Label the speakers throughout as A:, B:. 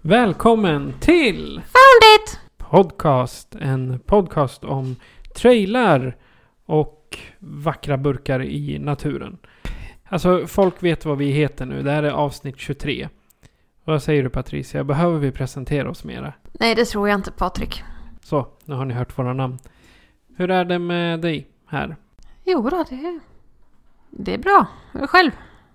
A: Välkommen till
B: Found it!
A: Podcast. En podcast om trailar och vackra burkar i naturen. Alltså, folk vet vad vi heter nu. Det här är avsnitt 23. Vad säger du Patricia? Behöver vi presentera oss mera?
B: Nej, det tror jag inte Patrik.
A: Så, nu har ni hört våra namn. Hur är det med dig här?
B: Jo då, det är, det är bra. Själv?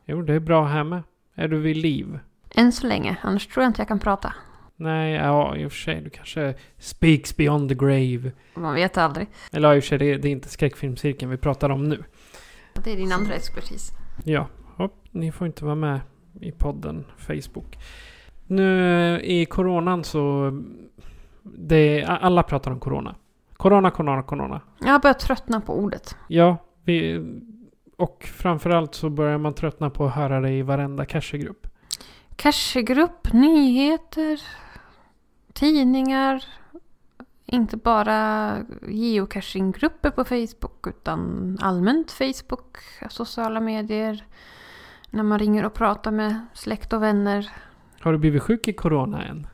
A: Jo, det är bra här med. Är du vid liv?
B: Än så länge, annars tror jag inte jag kan prata.
A: Nej, ja i och för sig. Du kanske speaks beyond the grave.
B: Man vet aldrig.
A: Eller ja, i och för sig, det, det är inte skräckfilmscirkeln vi pratar om nu.
B: Det är din andra expertis.
A: Ja, hopp, ni får inte vara med i podden Facebook. Nu i coronan så... Det, alla pratar om corona. Corona, corona, corona.
B: Jag har börjat tröttna på ordet.
A: Ja, vi, och framförallt så börjar man tröttna på att höra det i varenda cashgrupp.
B: Cashgrupp, nyheter, tidningar. Inte bara geocachinggrupper på Facebook utan allmänt Facebook, sociala medier. När man ringer och pratar med släkt och vänner.
A: Har du blivit sjuk i corona än?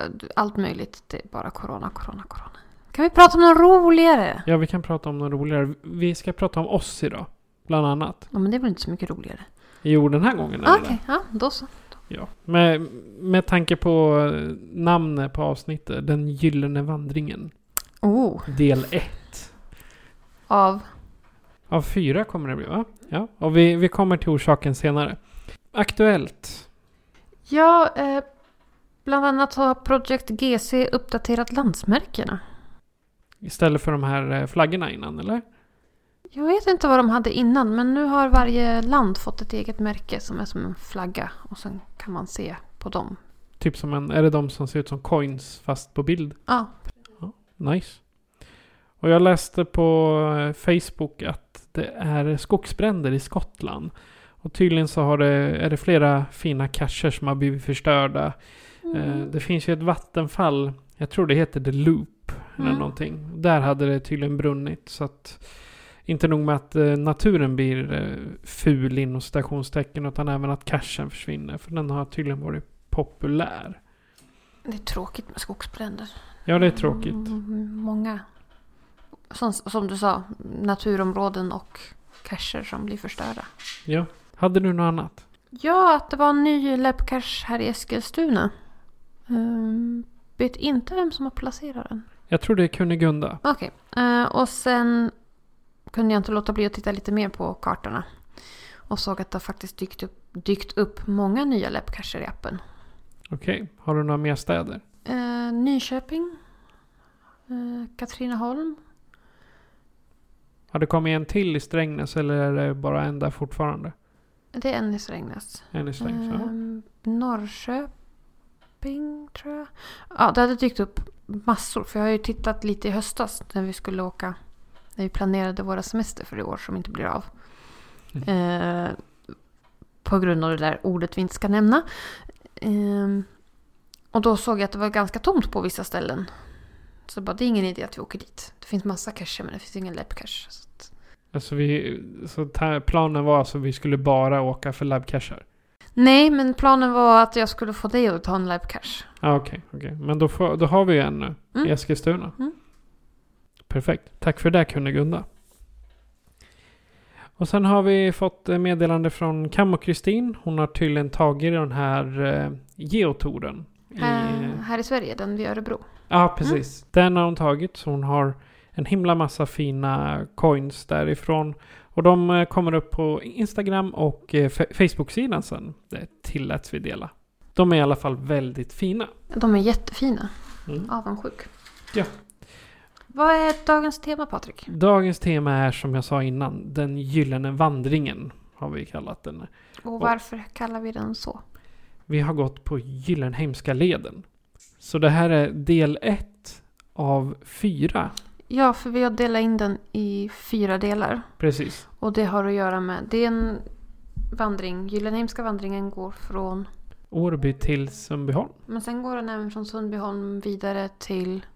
B: Eh, Allt möjligt. Det är bara corona, corona, corona. Kan vi prata om något roligare?
A: Ja, vi kan prata om något roligare. Vi ska prata om oss idag. Bland annat.
B: Ja, men det är väl inte så mycket roligare.
A: Jo, den här gången är
B: Ah,
A: det
B: Okej,
A: det.
B: ja, då så.
A: Ja. Med, med tanke på eh, namnet på avsnittet. Den gyllene vandringen.
B: Oh,
A: Del 1.
B: av...
A: Av fyra kommer det bli va? Ja. Och vi, vi kommer till orsaken senare. Aktuellt.
B: Ja, eh, bland annat har Project GC uppdaterat landsmärkena.
A: Istället för de här eh, flaggorna innan eller?
B: Jag vet inte vad de hade innan, men nu har varje land fått ett eget märke som är som en flagga. Och sen kan man se på dem.
A: Typ som en, är det de som ser ut som coins fast på bild?
B: Ja,
A: Nice. Och jag läste på eh, Facebook att det är skogsbränder i Skottland. Och tydligen så har det, är det flera fina cacher som har blivit förstörda.
B: Mm.
A: Eh, Det finns ju ett vattenfall, jag tror det heter The Loop eller
B: Mm.
A: någonting. Där hade det tydligen brunnit så att inte nog med att eh, naturen blir eh, ful inom citationstecken utan även att cashen försvinner. För den har tydligen varit populär.
B: det är tråkigt med skogsbränder.
A: Ja, det är tråkigt.
B: Mm, Många, som, som du sa, naturområden och cacher som blir förstörda.
A: Ja. Hade du något annat?
B: Ja, att det var en ny läppcash här i Eskilstuna. Ehm, vet inte vem som har placerat den.
A: Jag tror det är Kunigunda.
B: Okej, eh, och sen kunde jag inte låta bli att titta lite mer på kartorna. Och såg att det har faktiskt dykt upp, dykt upp många nya läppcacher i appen.
A: Okej, har du några mer städer?
B: Eh, Nyköping. Eh, Katrineholm.
A: Har det kommit en till i Strängnäs eller är det bara en där fortfarande?
B: Det är en i Strängnäs.
A: En i Strängnäs? ja.
B: Ehm, Norrköping tror jag. Ja, det hade dykt upp massor. För jag har ju tittat lite i höstas när vi skulle åka. När vi planerade våra semester för i år som inte blir av. Eh, på grund av det där ordet vi inte ska nämna. Ehm, och då såg jag att det var ganska tomt på vissa ställen. Så jag bara, det är ingen idé att vi åker dit. Det finns massa cacher men det finns ingen läppcache. Så att-
A: Alltså vi, så ta- planen var alltså att vi skulle bara åka för labcacher?
B: Nej, men planen var att jag skulle få dig att ta en läppcache.
A: Ja, ah, okej. okej. Men då, får, då har vi ju en nu
B: Mm.
A: i Eskilstuna.
B: Mm.
A: Perfekt. Tack för det Kunigunda. Och sen har vi fått eh, meddelande från Cam och Kristin. Hon har tydligen tagit den här eh, geotoren. I,
B: Eh, här Mm. i Sverige, den vid Örebro.
A: Ja, precis. Den har hon tagit. Så hon har en himla massa fina coins därifrån. Och de eh, kommer upp på Instagram och eh, Fe- Facebook-sidan sen. Det tilläts vi dela. De är i alla fall väldigt fina.
B: De är jättefina.
A: Mm.
B: Avundsjuk.
A: Ja.
B: Vad är dagens tema Patrik?
A: Dagens tema är som jag sa innan, den gyllene vandringen. Har vi kallat den.
B: Och varför kallar vi den så?
A: Vi har gått på Gyllenheimska leden. Så det här är del ett av fyra.
B: Ja, för vi har delat in den i fyra delar.
A: Precis.
B: Och det har att göra med, det är en vandring, Gyllenheimska vandringen går från,
A: Årby till Sundbyholm.
B: men sen går den även från Sundbyholm vidare till,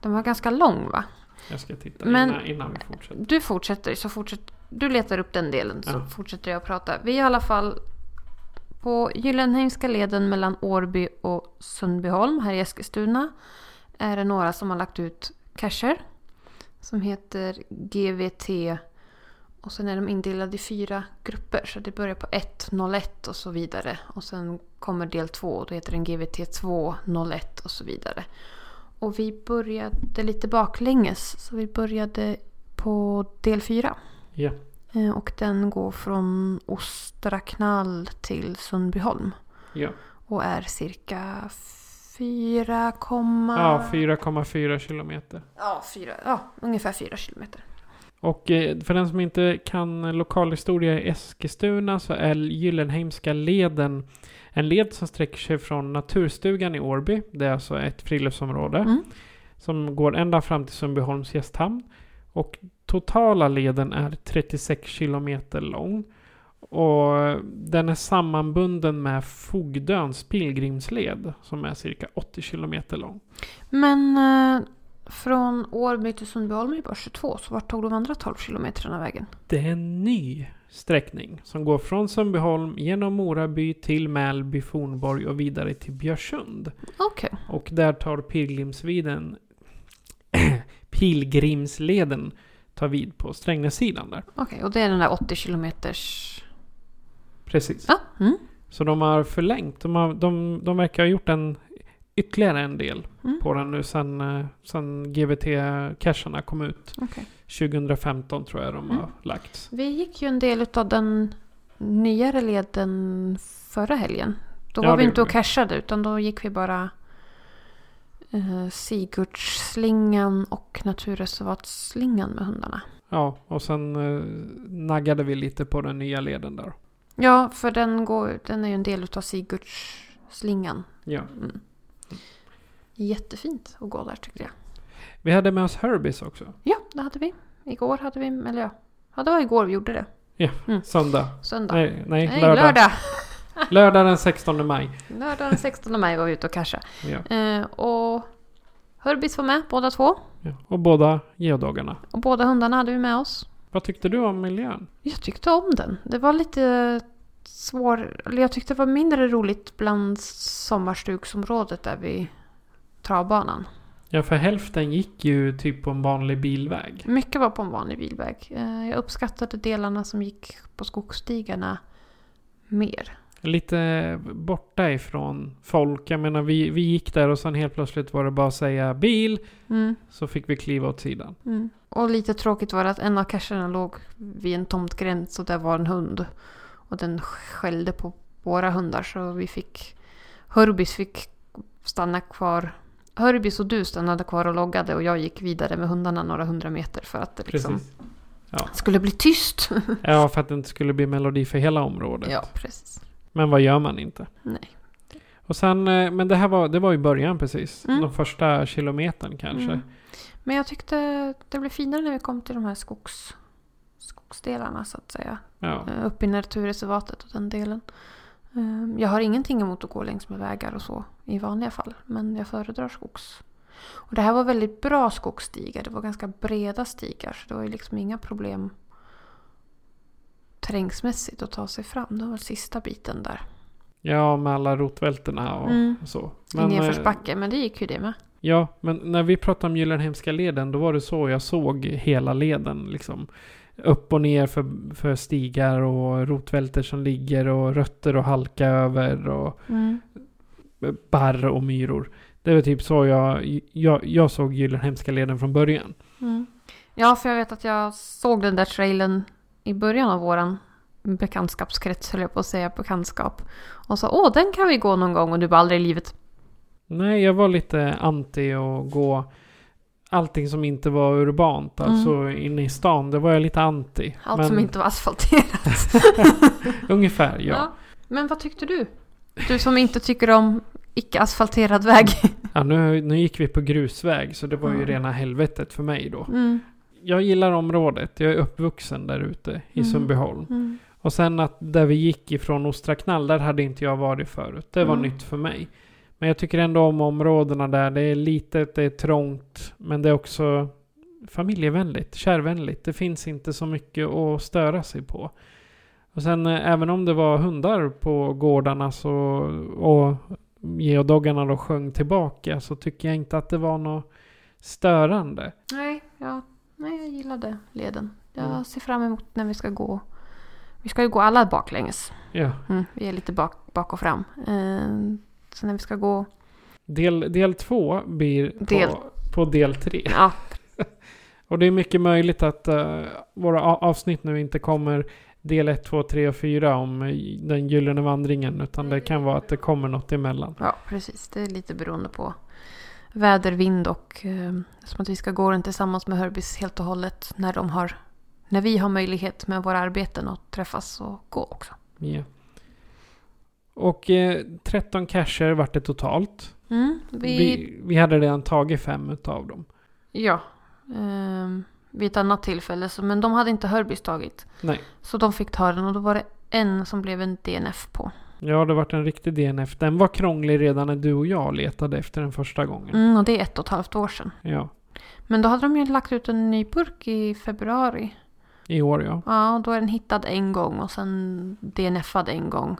B: den var ganska lång va?
A: Jag ska titta
B: Men-
A: innan, innan vi fortsätter.
B: Du fortsätter, så fortsätt, du letar upp den delen så
A: Ja.
B: fortsätter jag prata. Vi är i alla fall på Gyllenheimska leden mellan Årby och Sundbyholm här i Eskilstuna. Är det några som har lagt ut cacher. Som heter GVT. Och sen är de indelade i fyra grupper. Så det börjar på 101 och så vidare. Och sen kommer del 2 och då heter den GVT 201 och så vidare. Och vi började lite baklänges. Så vi började på del 4.
A: Ja.
B: Eh, Och den går från Ostraknall till Sundbyholm.
A: Ja.
B: Och är cirka 4, komma-
A: Ja, 4,4 kilometer.
B: ja, fyra, ja, ungefär 4 kilometer.
A: Och eh, för den som inte kan lokalhistoria i Eskilstuna så är Gyllenheimska leden en led som sträcker sig från Naturstugan i Årby, det är alltså ett friluftsområde,
B: Mm.
A: som går ända fram till Sundbyholms gästhamn. Och totala leden är 36 kilometer lång. Och den är sammanbunden med Fogdöns pilgrimsled som är cirka 80 kilometer lång.
B: Men eh, från Årby till Sundbyholm är ju bara 22. Så vart tog de andra 12 kilometrarna vägen?
A: Det är en ny sträckning som går från Sundbyholm genom Moraby till Mälby, Fornborg och vidare till Björsund.
B: Okej.
A: Och där tar pilgrimsviden pilgrimsleden tar vid på Strängnässidan där.
B: Okej, och det är den där 80 kilometers...
A: Precis.
B: Ja, mm.
A: Så de har förlängt. De, har, de, de verkar ha gjort en ytterligare en del
B: Mm.
A: på den nu sen, eh, sen GBT-cacherna kom ut.
B: Okej.
A: 2015 tror jag de har
B: Mm.
A: lagts.
B: Vi gick ju en del av den nyare leden förra helgen. Då
A: Ja,
B: var vi
A: det
B: inte och
A: gjorde
B: cashade utan då gick vi bara eh, Sigurdsslingan och naturreservatsslingan med hundarna.
A: Ja, och sen eh, naggade vi lite på den nya leden där.
B: Ja, för den, går, den är ju en del av Sigurdsslingan.
A: Ja.
B: Jättefint att gå där tyckte jag.
A: Vi hade med oss Herbis också.
B: Ja, det hade vi. Igår hade vi, eller ja, ja det var igår vi gjorde det.
A: Söndag.
B: Söndag.
A: Nej, nej,
B: Nej,
A: lördag.
B: lördag.
A: Lördag den 16 maj.
B: Lördag den 16 maj var vi ute och cashade.
A: Ja.
B: Eh, och Hörbis var med båda två.
A: Ja. Och båda geodagarna.
B: Och båda hundarna hade vi med oss.
A: Vad tyckte du om miljön?
B: Jag tyckte om den. Det var lite svår... Eller jag tyckte det var mindre roligt bland sommarstugsområdet där vid travbanan.
A: Ja, för hälften gick ju typ på en vanlig bilväg.
B: Mycket var på en vanlig bilväg. Eh, Jag uppskattade delarna som gick på skogsstigarna mer.
A: Lite borta ifrån folk. Jag menar, vi, vi gick där och sen helt plötsligt var det bara att säga bil.
B: Mm,
A: Så fick vi kliva åt sidan.
B: mm. Och lite tråkigt var det att en av cacherna låg vid en tomtgräns och där var en hund. Och den skällde på våra hundar så vi fick... Hörbis fick stanna kvar. Hörbis och du stannade kvar och loggade och jag gick vidare med hundarna några hundra meter för att det liksom
A: Precis.
B: skulle bli tyst.
A: Ja, för att det inte skulle bli melodi för hela området.
B: ja, precis.
A: Men vad gör man inte?
B: Nej.
A: Och sen, eh, men det här var, det var ju början precis.
B: Mm.
A: De första kilometern kanske.
B: Mm. Men jag tyckte det blev finare när vi kom till de här skogs, skogsdelarna så att säga.
A: Ja.
B: Eh, Upp i naturreservatet och den delen. Eh, Jag har ingenting emot att gå längs med vägar och så i vanliga fall. Men jag föredrar skogs. Och det här var väldigt bra skogsstigar. Det var ganska breda stigar. Så det var ju liksom inga problem terrängsmässigt att ta sig fram. Det var sista biten där.
A: ja, med alla rotvältorna och
B: Mm.
A: så.
B: I
A: eh,
B: nedförsbacke. Men det gick ju det med.
A: Ja, men när vi pratade om Gyllenhemska leden, då var det så jag såg hela leden. Liksom. Upp och ner för, för stigar och rotvältor som ligger och rötter och halka över. Och barr och myror. Det var typ så jag, jag, jag såg Gyllenhemska leden från början.
B: Mm. Ja, för jag vet att jag såg den där trailern i början av våran bekantskapskrets, höll jag på att säga, bekantskap. Och sa åh, den kan vi gå någon gång och du bara aldrig i livet.
A: Nej, jag var lite anti att gå allting som inte var urbant, alltså inne i stan. Det var jag lite anti.
B: Mm. Allt
A: Men
B: som inte var asfalterat.
A: Ungefär, ja.
B: Ja. Men vad tyckte du? Du som inte tycker om icke-asfalterad väg.
A: Ja, nu, nu gick vi på grusväg så det var ju
B: Mm.
A: rena helvetet för mig då. Jag gillar området. Jag är uppvuxen där ute i
B: Mm.
A: Sundbyholm. Och sen att där vi gick ifrån Ostra Knall, där hade inte jag varit förut. Det var
B: Mm.
A: nytt för mig. Men jag tycker ändå om områdena där. Det är litet, det är trångt, men det är också familjevänligt, kärvänligt. Det finns inte så mycket att störa sig på. Och sen eh, även om det var hundar på gårdarna så, och geodoggarna då sjöng tillbaka så tycker jag inte att det var något störande.
B: Nej, jag, nej, jag gillade leden. Jag
A: Mm.
B: ser fram emot när vi ska gå. Vi ska ju gå alla baklänges.
A: Ja.
B: Mm, vi är lite bak, bak och fram. Eh, så när vi ska gå...
A: Del, del två blir
B: Del-
A: På, på del tre.
B: Ja,
A: Och det är mycket möjligt att eh, våra a- avsnitt nu inte kommer del 1, 2, 3 och 4 om eh, den gyllene vandringen. Utan det kan vara att det kommer något emellan.
B: ja, precis. Det är lite beroende på väder, vind och... Eh, som att vi ska gå den tillsammans med Hörbis helt och hållet när de har... När vi har möjlighet med våra arbeten att träffas och gå också.
A: Ja. Och eh, 13 cacher vart det totalt.
B: Mm, vi,
A: Vi, vi hade redan tagit fem utav dem.
B: Ja. ehm, vid ett annat tillfälle. Så, men de hade inte Hörbys tagit.
A: Nej.
B: Så de fick ta den och då var det en som blev en DNF på.
A: Ja, det vart en riktig DNF. Den var krånglig redan när du och jag letade efter den första gången.
B: Mm, och det är ett och ett halvt år sedan.
A: Ja,
B: Men då hade de ju lagt ut en ny burk i februari.
A: i år ja.
B: Ja, och då är den hittad en gång och sen DNFad en gång.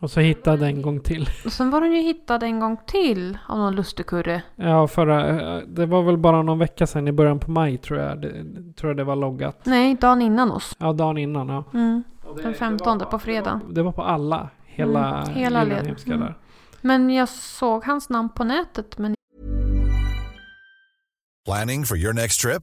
A: Och så hittade en gång till.
B: Och sen var den ju hittad en gång till av någon lustigkurre.
A: Ja, förra, eh, det var väl bara någon vecka sedan i början på maj tror jag. Det, tror jag det var loggat.
B: Nej, dagen innan oss.
A: Ja, dagen innan ja.
B: Mm. Den 15 på fredag.
A: Det var på alla. Hela,
B: Mm, hela led.
A: Gyllenhemska
B: Mm.
A: där.
B: Men jag såg hans namn på nätet men
C: Planning for your next trip?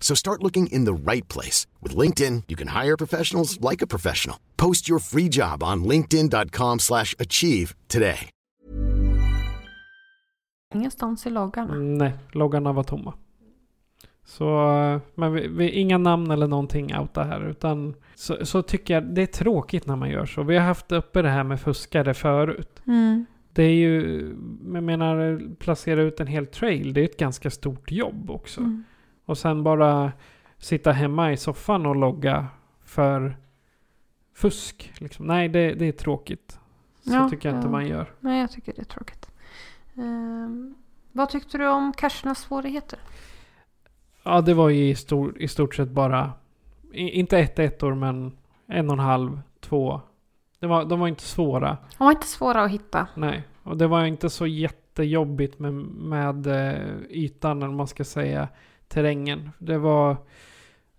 D: So start looking in the right place. With LinkedIn, you can hire professionals like a professional. Post your free job on linkedin.com slash achieve today.
B: ingenstans i loggarna.
A: Mm, Nej, loggarna var tomma. Så, eh, men vi, vi, inga namn eller någonting outa här. Utan så, så tycker jag det är tråkigt när man gör så. Vi har haft uppe det här med fuskare förut.
B: Mm.
A: Det är ju, jag menar, placera ut en hel trail. Det är ett ganska stort jobb också.
B: Mm.
A: Och sen bara sitta hemma i soffan och logga för fusk. Liksom. Nej, det, det är tråkigt. Så
B: Ja,
A: tycker jag inte
B: ja.
A: man gör.
B: Nej, jag tycker det är tråkigt. Ehm, vad tyckte du om cachernas svårigheter?
A: Ja, det var ju i, stor, i stort sett bara... i- Inte ett ettor, men en och en halv, två. Det var, de var inte svåra.
B: De var inte svåra att hitta.
A: Nej. Och det var inte så jättejobbigt med, med eh, ytan, eller vad man ska säga, terrängen. Det var,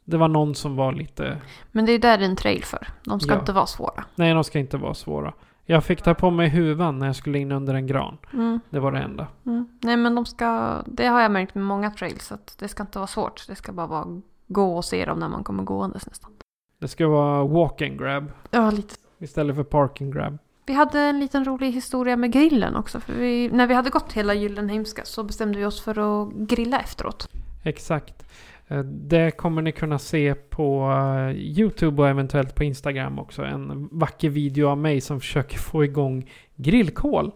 A: det var någon som var lite...
B: Men det är ju där det är en trail för. De ska
A: Ja.
B: inte vara svåra.
A: Nej, de ska inte vara svåra. Jag fick ta på mig huvan när jag skulle in under en gran.
B: Mm,
A: Det var det enda.
B: mm. Nej men de ska, det har jag märkt med många trails. Att det ska inte vara svårt. Det ska bara vara gå och se dem när man kommer gåendes nästan.
A: Det ska vara walk and grab
B: Ja, lite.
A: istället för park and grab.
B: Vi hade en liten rolig historia med grillen också. För vi, när vi hade gått hela Gyllenheimska så bestämde vi oss för att grilla efteråt.
A: Exakt. Eh, Det kommer ni kunna se på eh, YouTube och eventuellt på Instagram också. En vacker video av mig som försöker få igång grillkol.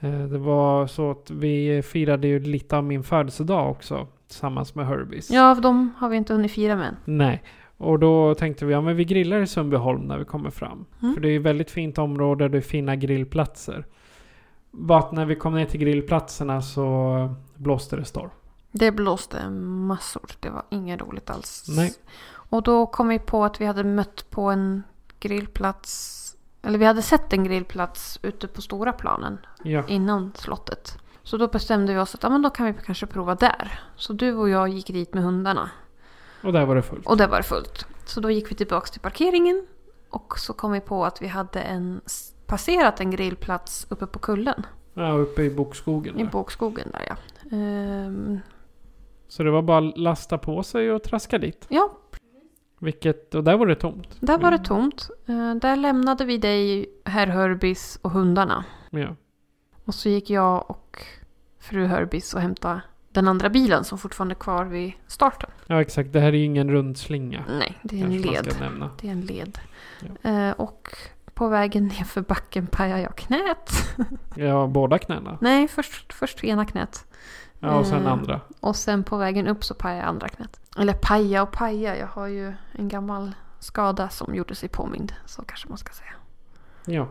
A: Eh, Det var så att vi firade ju lite av min födelsedag också tillsammans med Herbies.
B: Ja, för de har vi inte hunnit fira med än.
A: Nej. Och då tänkte vi, ja men vi grillar i Sundbyholm när vi kommer fram.
B: Mm.
A: För det är ju väldigt fint område, det är fina grillplatser. Bara att när vi kom ner till grillplatserna så blåste det storm.
B: Det blåste massor. Det var inget roligt alls.
A: Nej.
B: Och då kom vi på att vi hade mött på en grillplats. Eller vi hade sett en grillplats ute på stora planen
A: Ja.
B: innan slottet. Så då bestämde vi oss att ja, men då kan vi kanske prova där. Så du och jag gick dit med hundarna.
A: Och där var det fullt.
B: Och där var det fullt. Så då gick vi tillbaka till parkeringen. Och så kom vi på att vi hade en, passerat en grillplats uppe på kullen.
A: Ja, uppe i bokskogen
B: I
A: där.
B: bokskogen där ja. Ehm,
A: Så det var bara att lasta på sig och traska dit.
B: ja,
A: Vilket, och där var det tomt.
B: Där var det tomt. Eh, Där lämnade vi dig, herr Hörbis och hundarna.
A: Mm, Ja.
B: Och så gick jag och fru Hörbis och hämtade den andra bilen som fortfarande är kvar vid starten.
A: ja, exakt. Det här är ju ingen rundslinga.
B: Nej, det är en
A: kanske man
B: led.
A: ska nämna.
B: Det är en led.
A: Ja.
B: Eh, Och på vägen nerför backen pajade jag knät.
A: Ja, båda knäna.
B: Nej, först, först ena knät.
A: Ja, och sen
B: Eh,
A: andra.
B: Och sen på vägen upp så pajade jag andra knät. Eller paja och paja, jag har ju en gammal skada som gjorde sig påmind. Så kanske man ska säga.
A: Ja.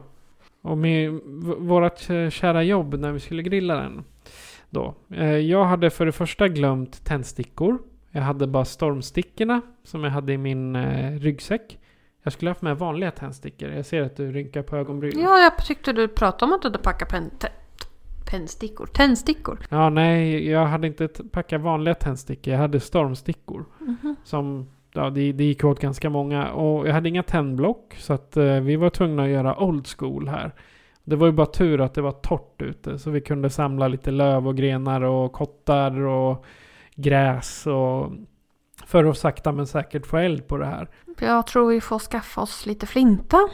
A: Och med v- vårat eh, kära jobb när vi skulle grilla den. Då. Eh, Jag hade för det första glömt tändstickor. Jag hade bara stormstickorna som jag hade i min eh, ryggsäck. Jag skulle haft med vanliga tändstickor. Jag ser att du rynkar på ögonbrynen.
B: Ja, jag tyckte du pratade om att du hade packat pen, te, pennstickor. Tändstickor.
A: Ja, nej, jag hade inte t- packat vanliga tändstickor. Jag hade stormstickor.
B: Mhm.
A: Som, ja, det, det gick åt ganska många. Och jag hade inga tändblock. Så att eh, vi var tvungna att göra old school här. Det var ju bara tur att det var torrt ute. Så vi kunde samla lite löv och grenar och kottar och gräs. Och, för att sakta men säkert få eld på det här.
B: Jag tror vi får skaffa oss lite flinta.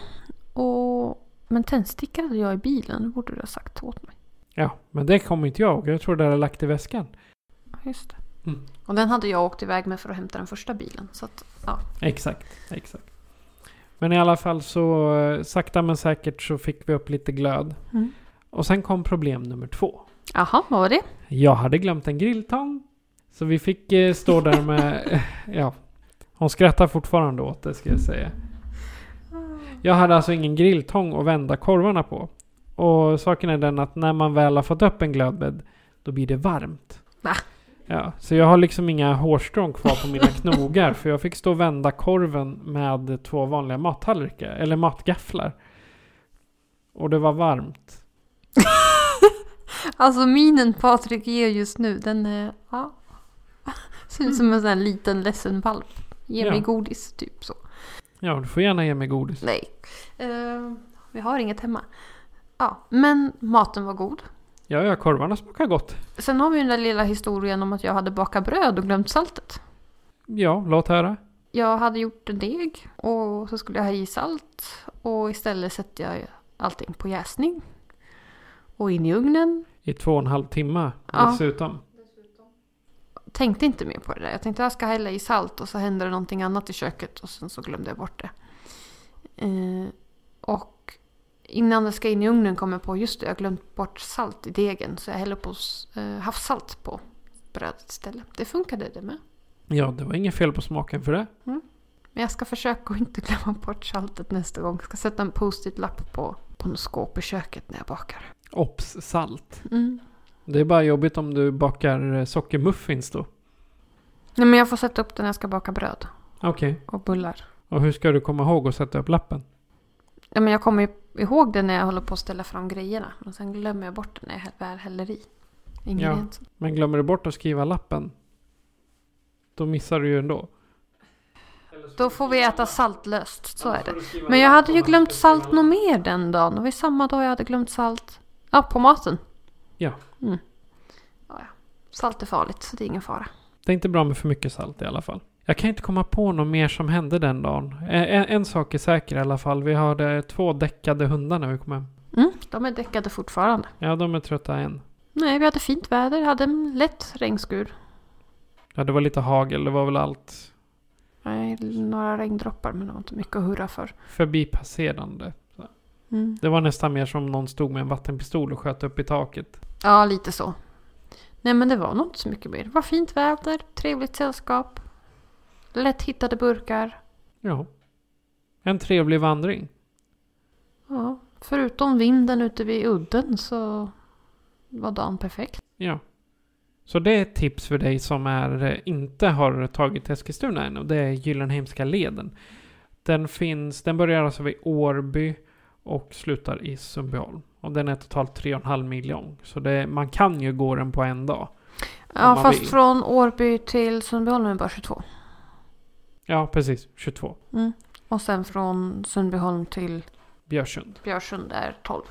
B: Och... Men tändstickor hade jag i bilen, det borde du ha sagt åt mig.
A: Ja, men det kommer inte jag ihåg. Jag tror det hade jag lagt i väskan.
B: Ja, Just det.
A: Mm.
B: Och den hade jag åkt iväg med för att hämta den första bilen. Så att,
A: Exakt, exakt. Men i alla fall så eh, sakta men säkert så fick vi upp lite glöd.
B: Mm.
A: Och sen kom problem nummer två.
B: aha, vad var det?
A: Jag hade glömt en grilltång. Så vi fick eh, stå där med... ja. Hon skrattar fortfarande åt det ska jag säga. Jag hade alltså ingen grilltång att vända korvarna på. Och saken är den att när man väl har fått upp en glödbädd, då blir det varmt.
B: Va?
A: Ja, så jag har liksom inga hårstrån kvar på mina knogar för jag fick stå och vända korven med två vanliga mattallrikar, eller matgafflar. Och det var varmt.
B: Alltså minen Patrik ger just nu, den är... Ja. Ser ut som en sån här liten ledsen valp. Ge mig
A: Ja.
B: godis, typ så.
A: Ja, du får gärna ge mig godis.
B: Nej. Eh, vi har inget hemma. Ja, men maten var god.
A: Ja, ja, korvarna smakar gott.
B: Sen har vi ju den där lilla historien om att jag hade bakat bröd och glömt saltet.
A: Ja, låt höra.
B: Jag hade gjort en deg och så skulle jag ha i salt och istället sätter jag allting på jäsning. Och in i ugnen.
A: I två och en halv timme
B: Ja.
A: dessutom.
B: Tänkte inte mer på det där. Jag tänkte jag ska hälla i salt och så hände det någonting annat i köket och sen så glömde jag bort det. Eh, och innan det ska in i ugnen kommer jag på just det, jag har glömt bort salt i degen så jag häller på s- eh, havssalt på brödet istället. Det funkade det med.
A: Ja, det var inget fel på smaken för det.
B: Men jag ska försöka att inte glömma bort saltet nästa gång. Jag ska sätta en post-it-lapp på, på något skåp i köket när jag bakar.
A: Ops, salt.
B: Mm.
A: Det är bara jobbigt om du bakar eh, sockermuffins då.
B: Nej, men jag får sätta upp den när jag ska baka bröd
A: Okej.
B: och bullar.
A: Och hur ska du komma ihåg att sätta upp lappen?
B: Ja, men jag kommer ju ihåg det när jag håller på att ställa fram grejerna. Men sen glömmer jag bort det när jag hä- väl häller i ingredienserna.
A: Men glömmer du bort att skriva lappen, då missar du ju ändå.
B: Då får vi äta saltlöst, så är det. Men jag hade ju glömt salt något mer den dagen. Det var ju samma dag jag hade glömt salt. Ja, på maten.
A: Ja.
B: Mm. Ja, ja. Salt är farligt, så det är ingen fara.
A: Det är inte bra med för mycket salt i alla fall. Jag kan inte komma på något mer som hände den dagen. Eh, En, en sak är säker i alla fall. Vi hade två däckade hundar när vi kom hem.
B: Mm, de är däckade fortfarande.
A: Ja, de är trötta än.
B: Nej, vi hade fint väder, hade en lätt regnskur.
A: Ja, det var lite hagel, det var väl allt
B: Nej, några regndroppar men det var inte mycket att hurra för.
A: förbipasserande.
B: Mm.
A: Det var nästan mer som någon stod med en vattenpistol och sköt upp i taket.
B: Ja, lite så. Nej, men det var nog inte så mycket mer. Det var fint väder, trevligt sällskap, lätt hittade burkar.
A: Ja. En trevlig vandring.
B: Ja, förutom vinden ute vid udden så var dagen perfekt.
A: Ja. Så det är ett tips för dig som är, eh, inte har tagit Eskilstuna än och det är Gyllenheimska leden. Den finns, den börjar alltså vid Årby och slutar i Sundbyholm. Och den är totalt 3,5 mil lång. Så det, man kan ju gå den på en dag.
B: Ja,
A: man
B: fast
A: vill.
B: från Årby till Sundbyholm är bara 22.
A: Ja, precis. 22.
B: Och sen från Sundbyholm till
A: Björsund.
B: Björsund är 12.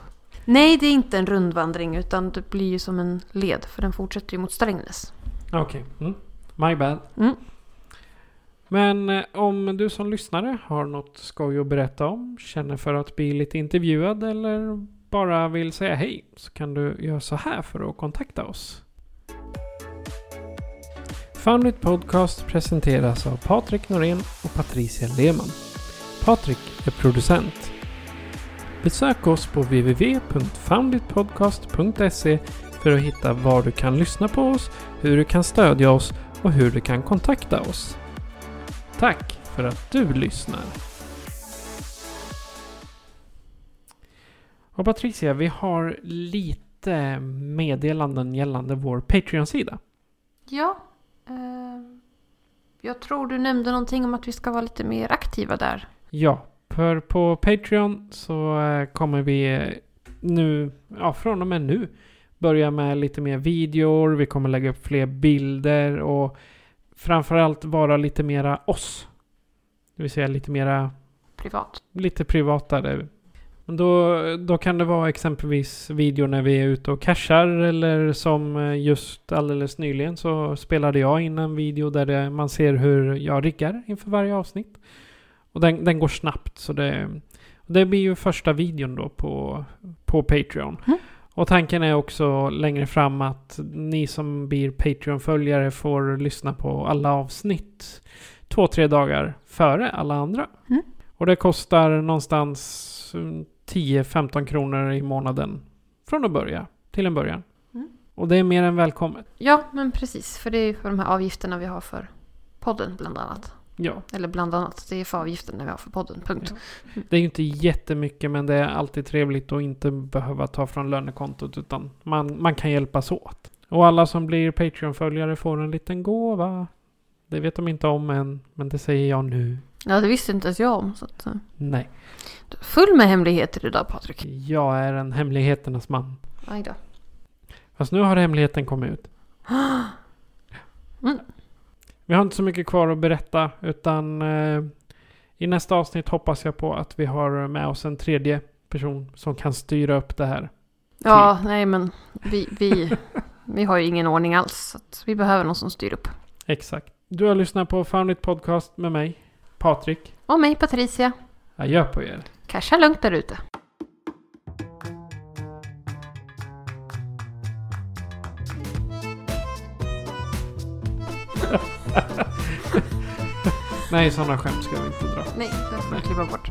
B: Nej, det är inte en rundvandring utan det blir ju som en led för den fortsätter ju mot Strängnäs.
A: Okej. Mm. My bad.
B: Mm.
A: Men eh, om du som lyssnare har något skoj att berätta om, känner för att bli lite intervjuad eller bara vill säga hej så kan du göra så här för att kontakta oss. Foundit Podcast presenteras av Patrik Norén och Patricia Lehmann. Patrik är producent. Besök oss på www.founditpodcast.se för att hitta var du kan lyssna på oss, hur du kan stödja oss och hur du kan kontakta oss. Tack för att du lyssnar. Och Patricia, vi har lite meddelanden gällande vår Patreon-sida.
B: Ja, eh, jag tror du nämnde någonting om att vi ska vara lite mer aktiva där.
A: Ja, för på Patreon så eh, kommer vi eh, nu, ja från och med nu, börja med lite mer videor, vi kommer lägga upp fler bilder och framförallt vara lite mera oss. Det vill säga lite mera
B: Privat.
A: lite privatare. Men Då, då kan det vara exempelvis videor när vi är ute och cashar eller som eh, just alldeles nyligen så spelade jag in en video där det, man ser hur jag riggar inför varje avsnitt. Och den, den går snabbt så det, och det blir ju första videon då på, på Patreon.
B: Mm.
A: Och tanken är också längre fram att ni som blir Patreon-följare får lyssna på alla avsnitt två, tre dagar före alla andra. Och det kostar någonstans mm, 10-15 kronor i månaden. Från att börja till en början.
B: Mm.
A: Och det är mer än välkommet.
B: Ja, men precis. För det är ju för de här avgifterna vi har för podden bland annat.
A: Ja,
B: Eller bland annat, det är för avgifterna vi har för podden. Punkt.
A: det är ju inte jättemycket men det är alltid trevligt att inte behöva ta från lönekontot utan man, man kan hjälpas åt. Och alla som blir Patreon-följare får en liten gåva. Det vet de inte om än, men det säger jag nu.
B: Ja, det visste inte ens jag om. Så att, eh,
A: Nej,
B: du är full med hemligheter idag, Patrik.
A: jag är en hemligheternas man.
B: Aj då.
A: Fast nu har hemligheten kommit ut.
B: Mm.
A: Vi har inte så mycket kvar att berätta utan eh, i nästa avsnitt hoppas jag på att vi har med oss en tredje person som kan styra upp det här.
B: Ja, nej men vi, vi, vi har ju ingen ordning alls. Så att vi behöver någon som styr upp.
A: Exakt. Du har lyssnat på Found It Podcast med mig, Patrik.
B: Och mig, Patricia.
A: Adjö på er.
B: Casha lugnt där ute.
A: Nej, sådana skämt ska vi inte dra.
B: Nej, det får jag klippa bort.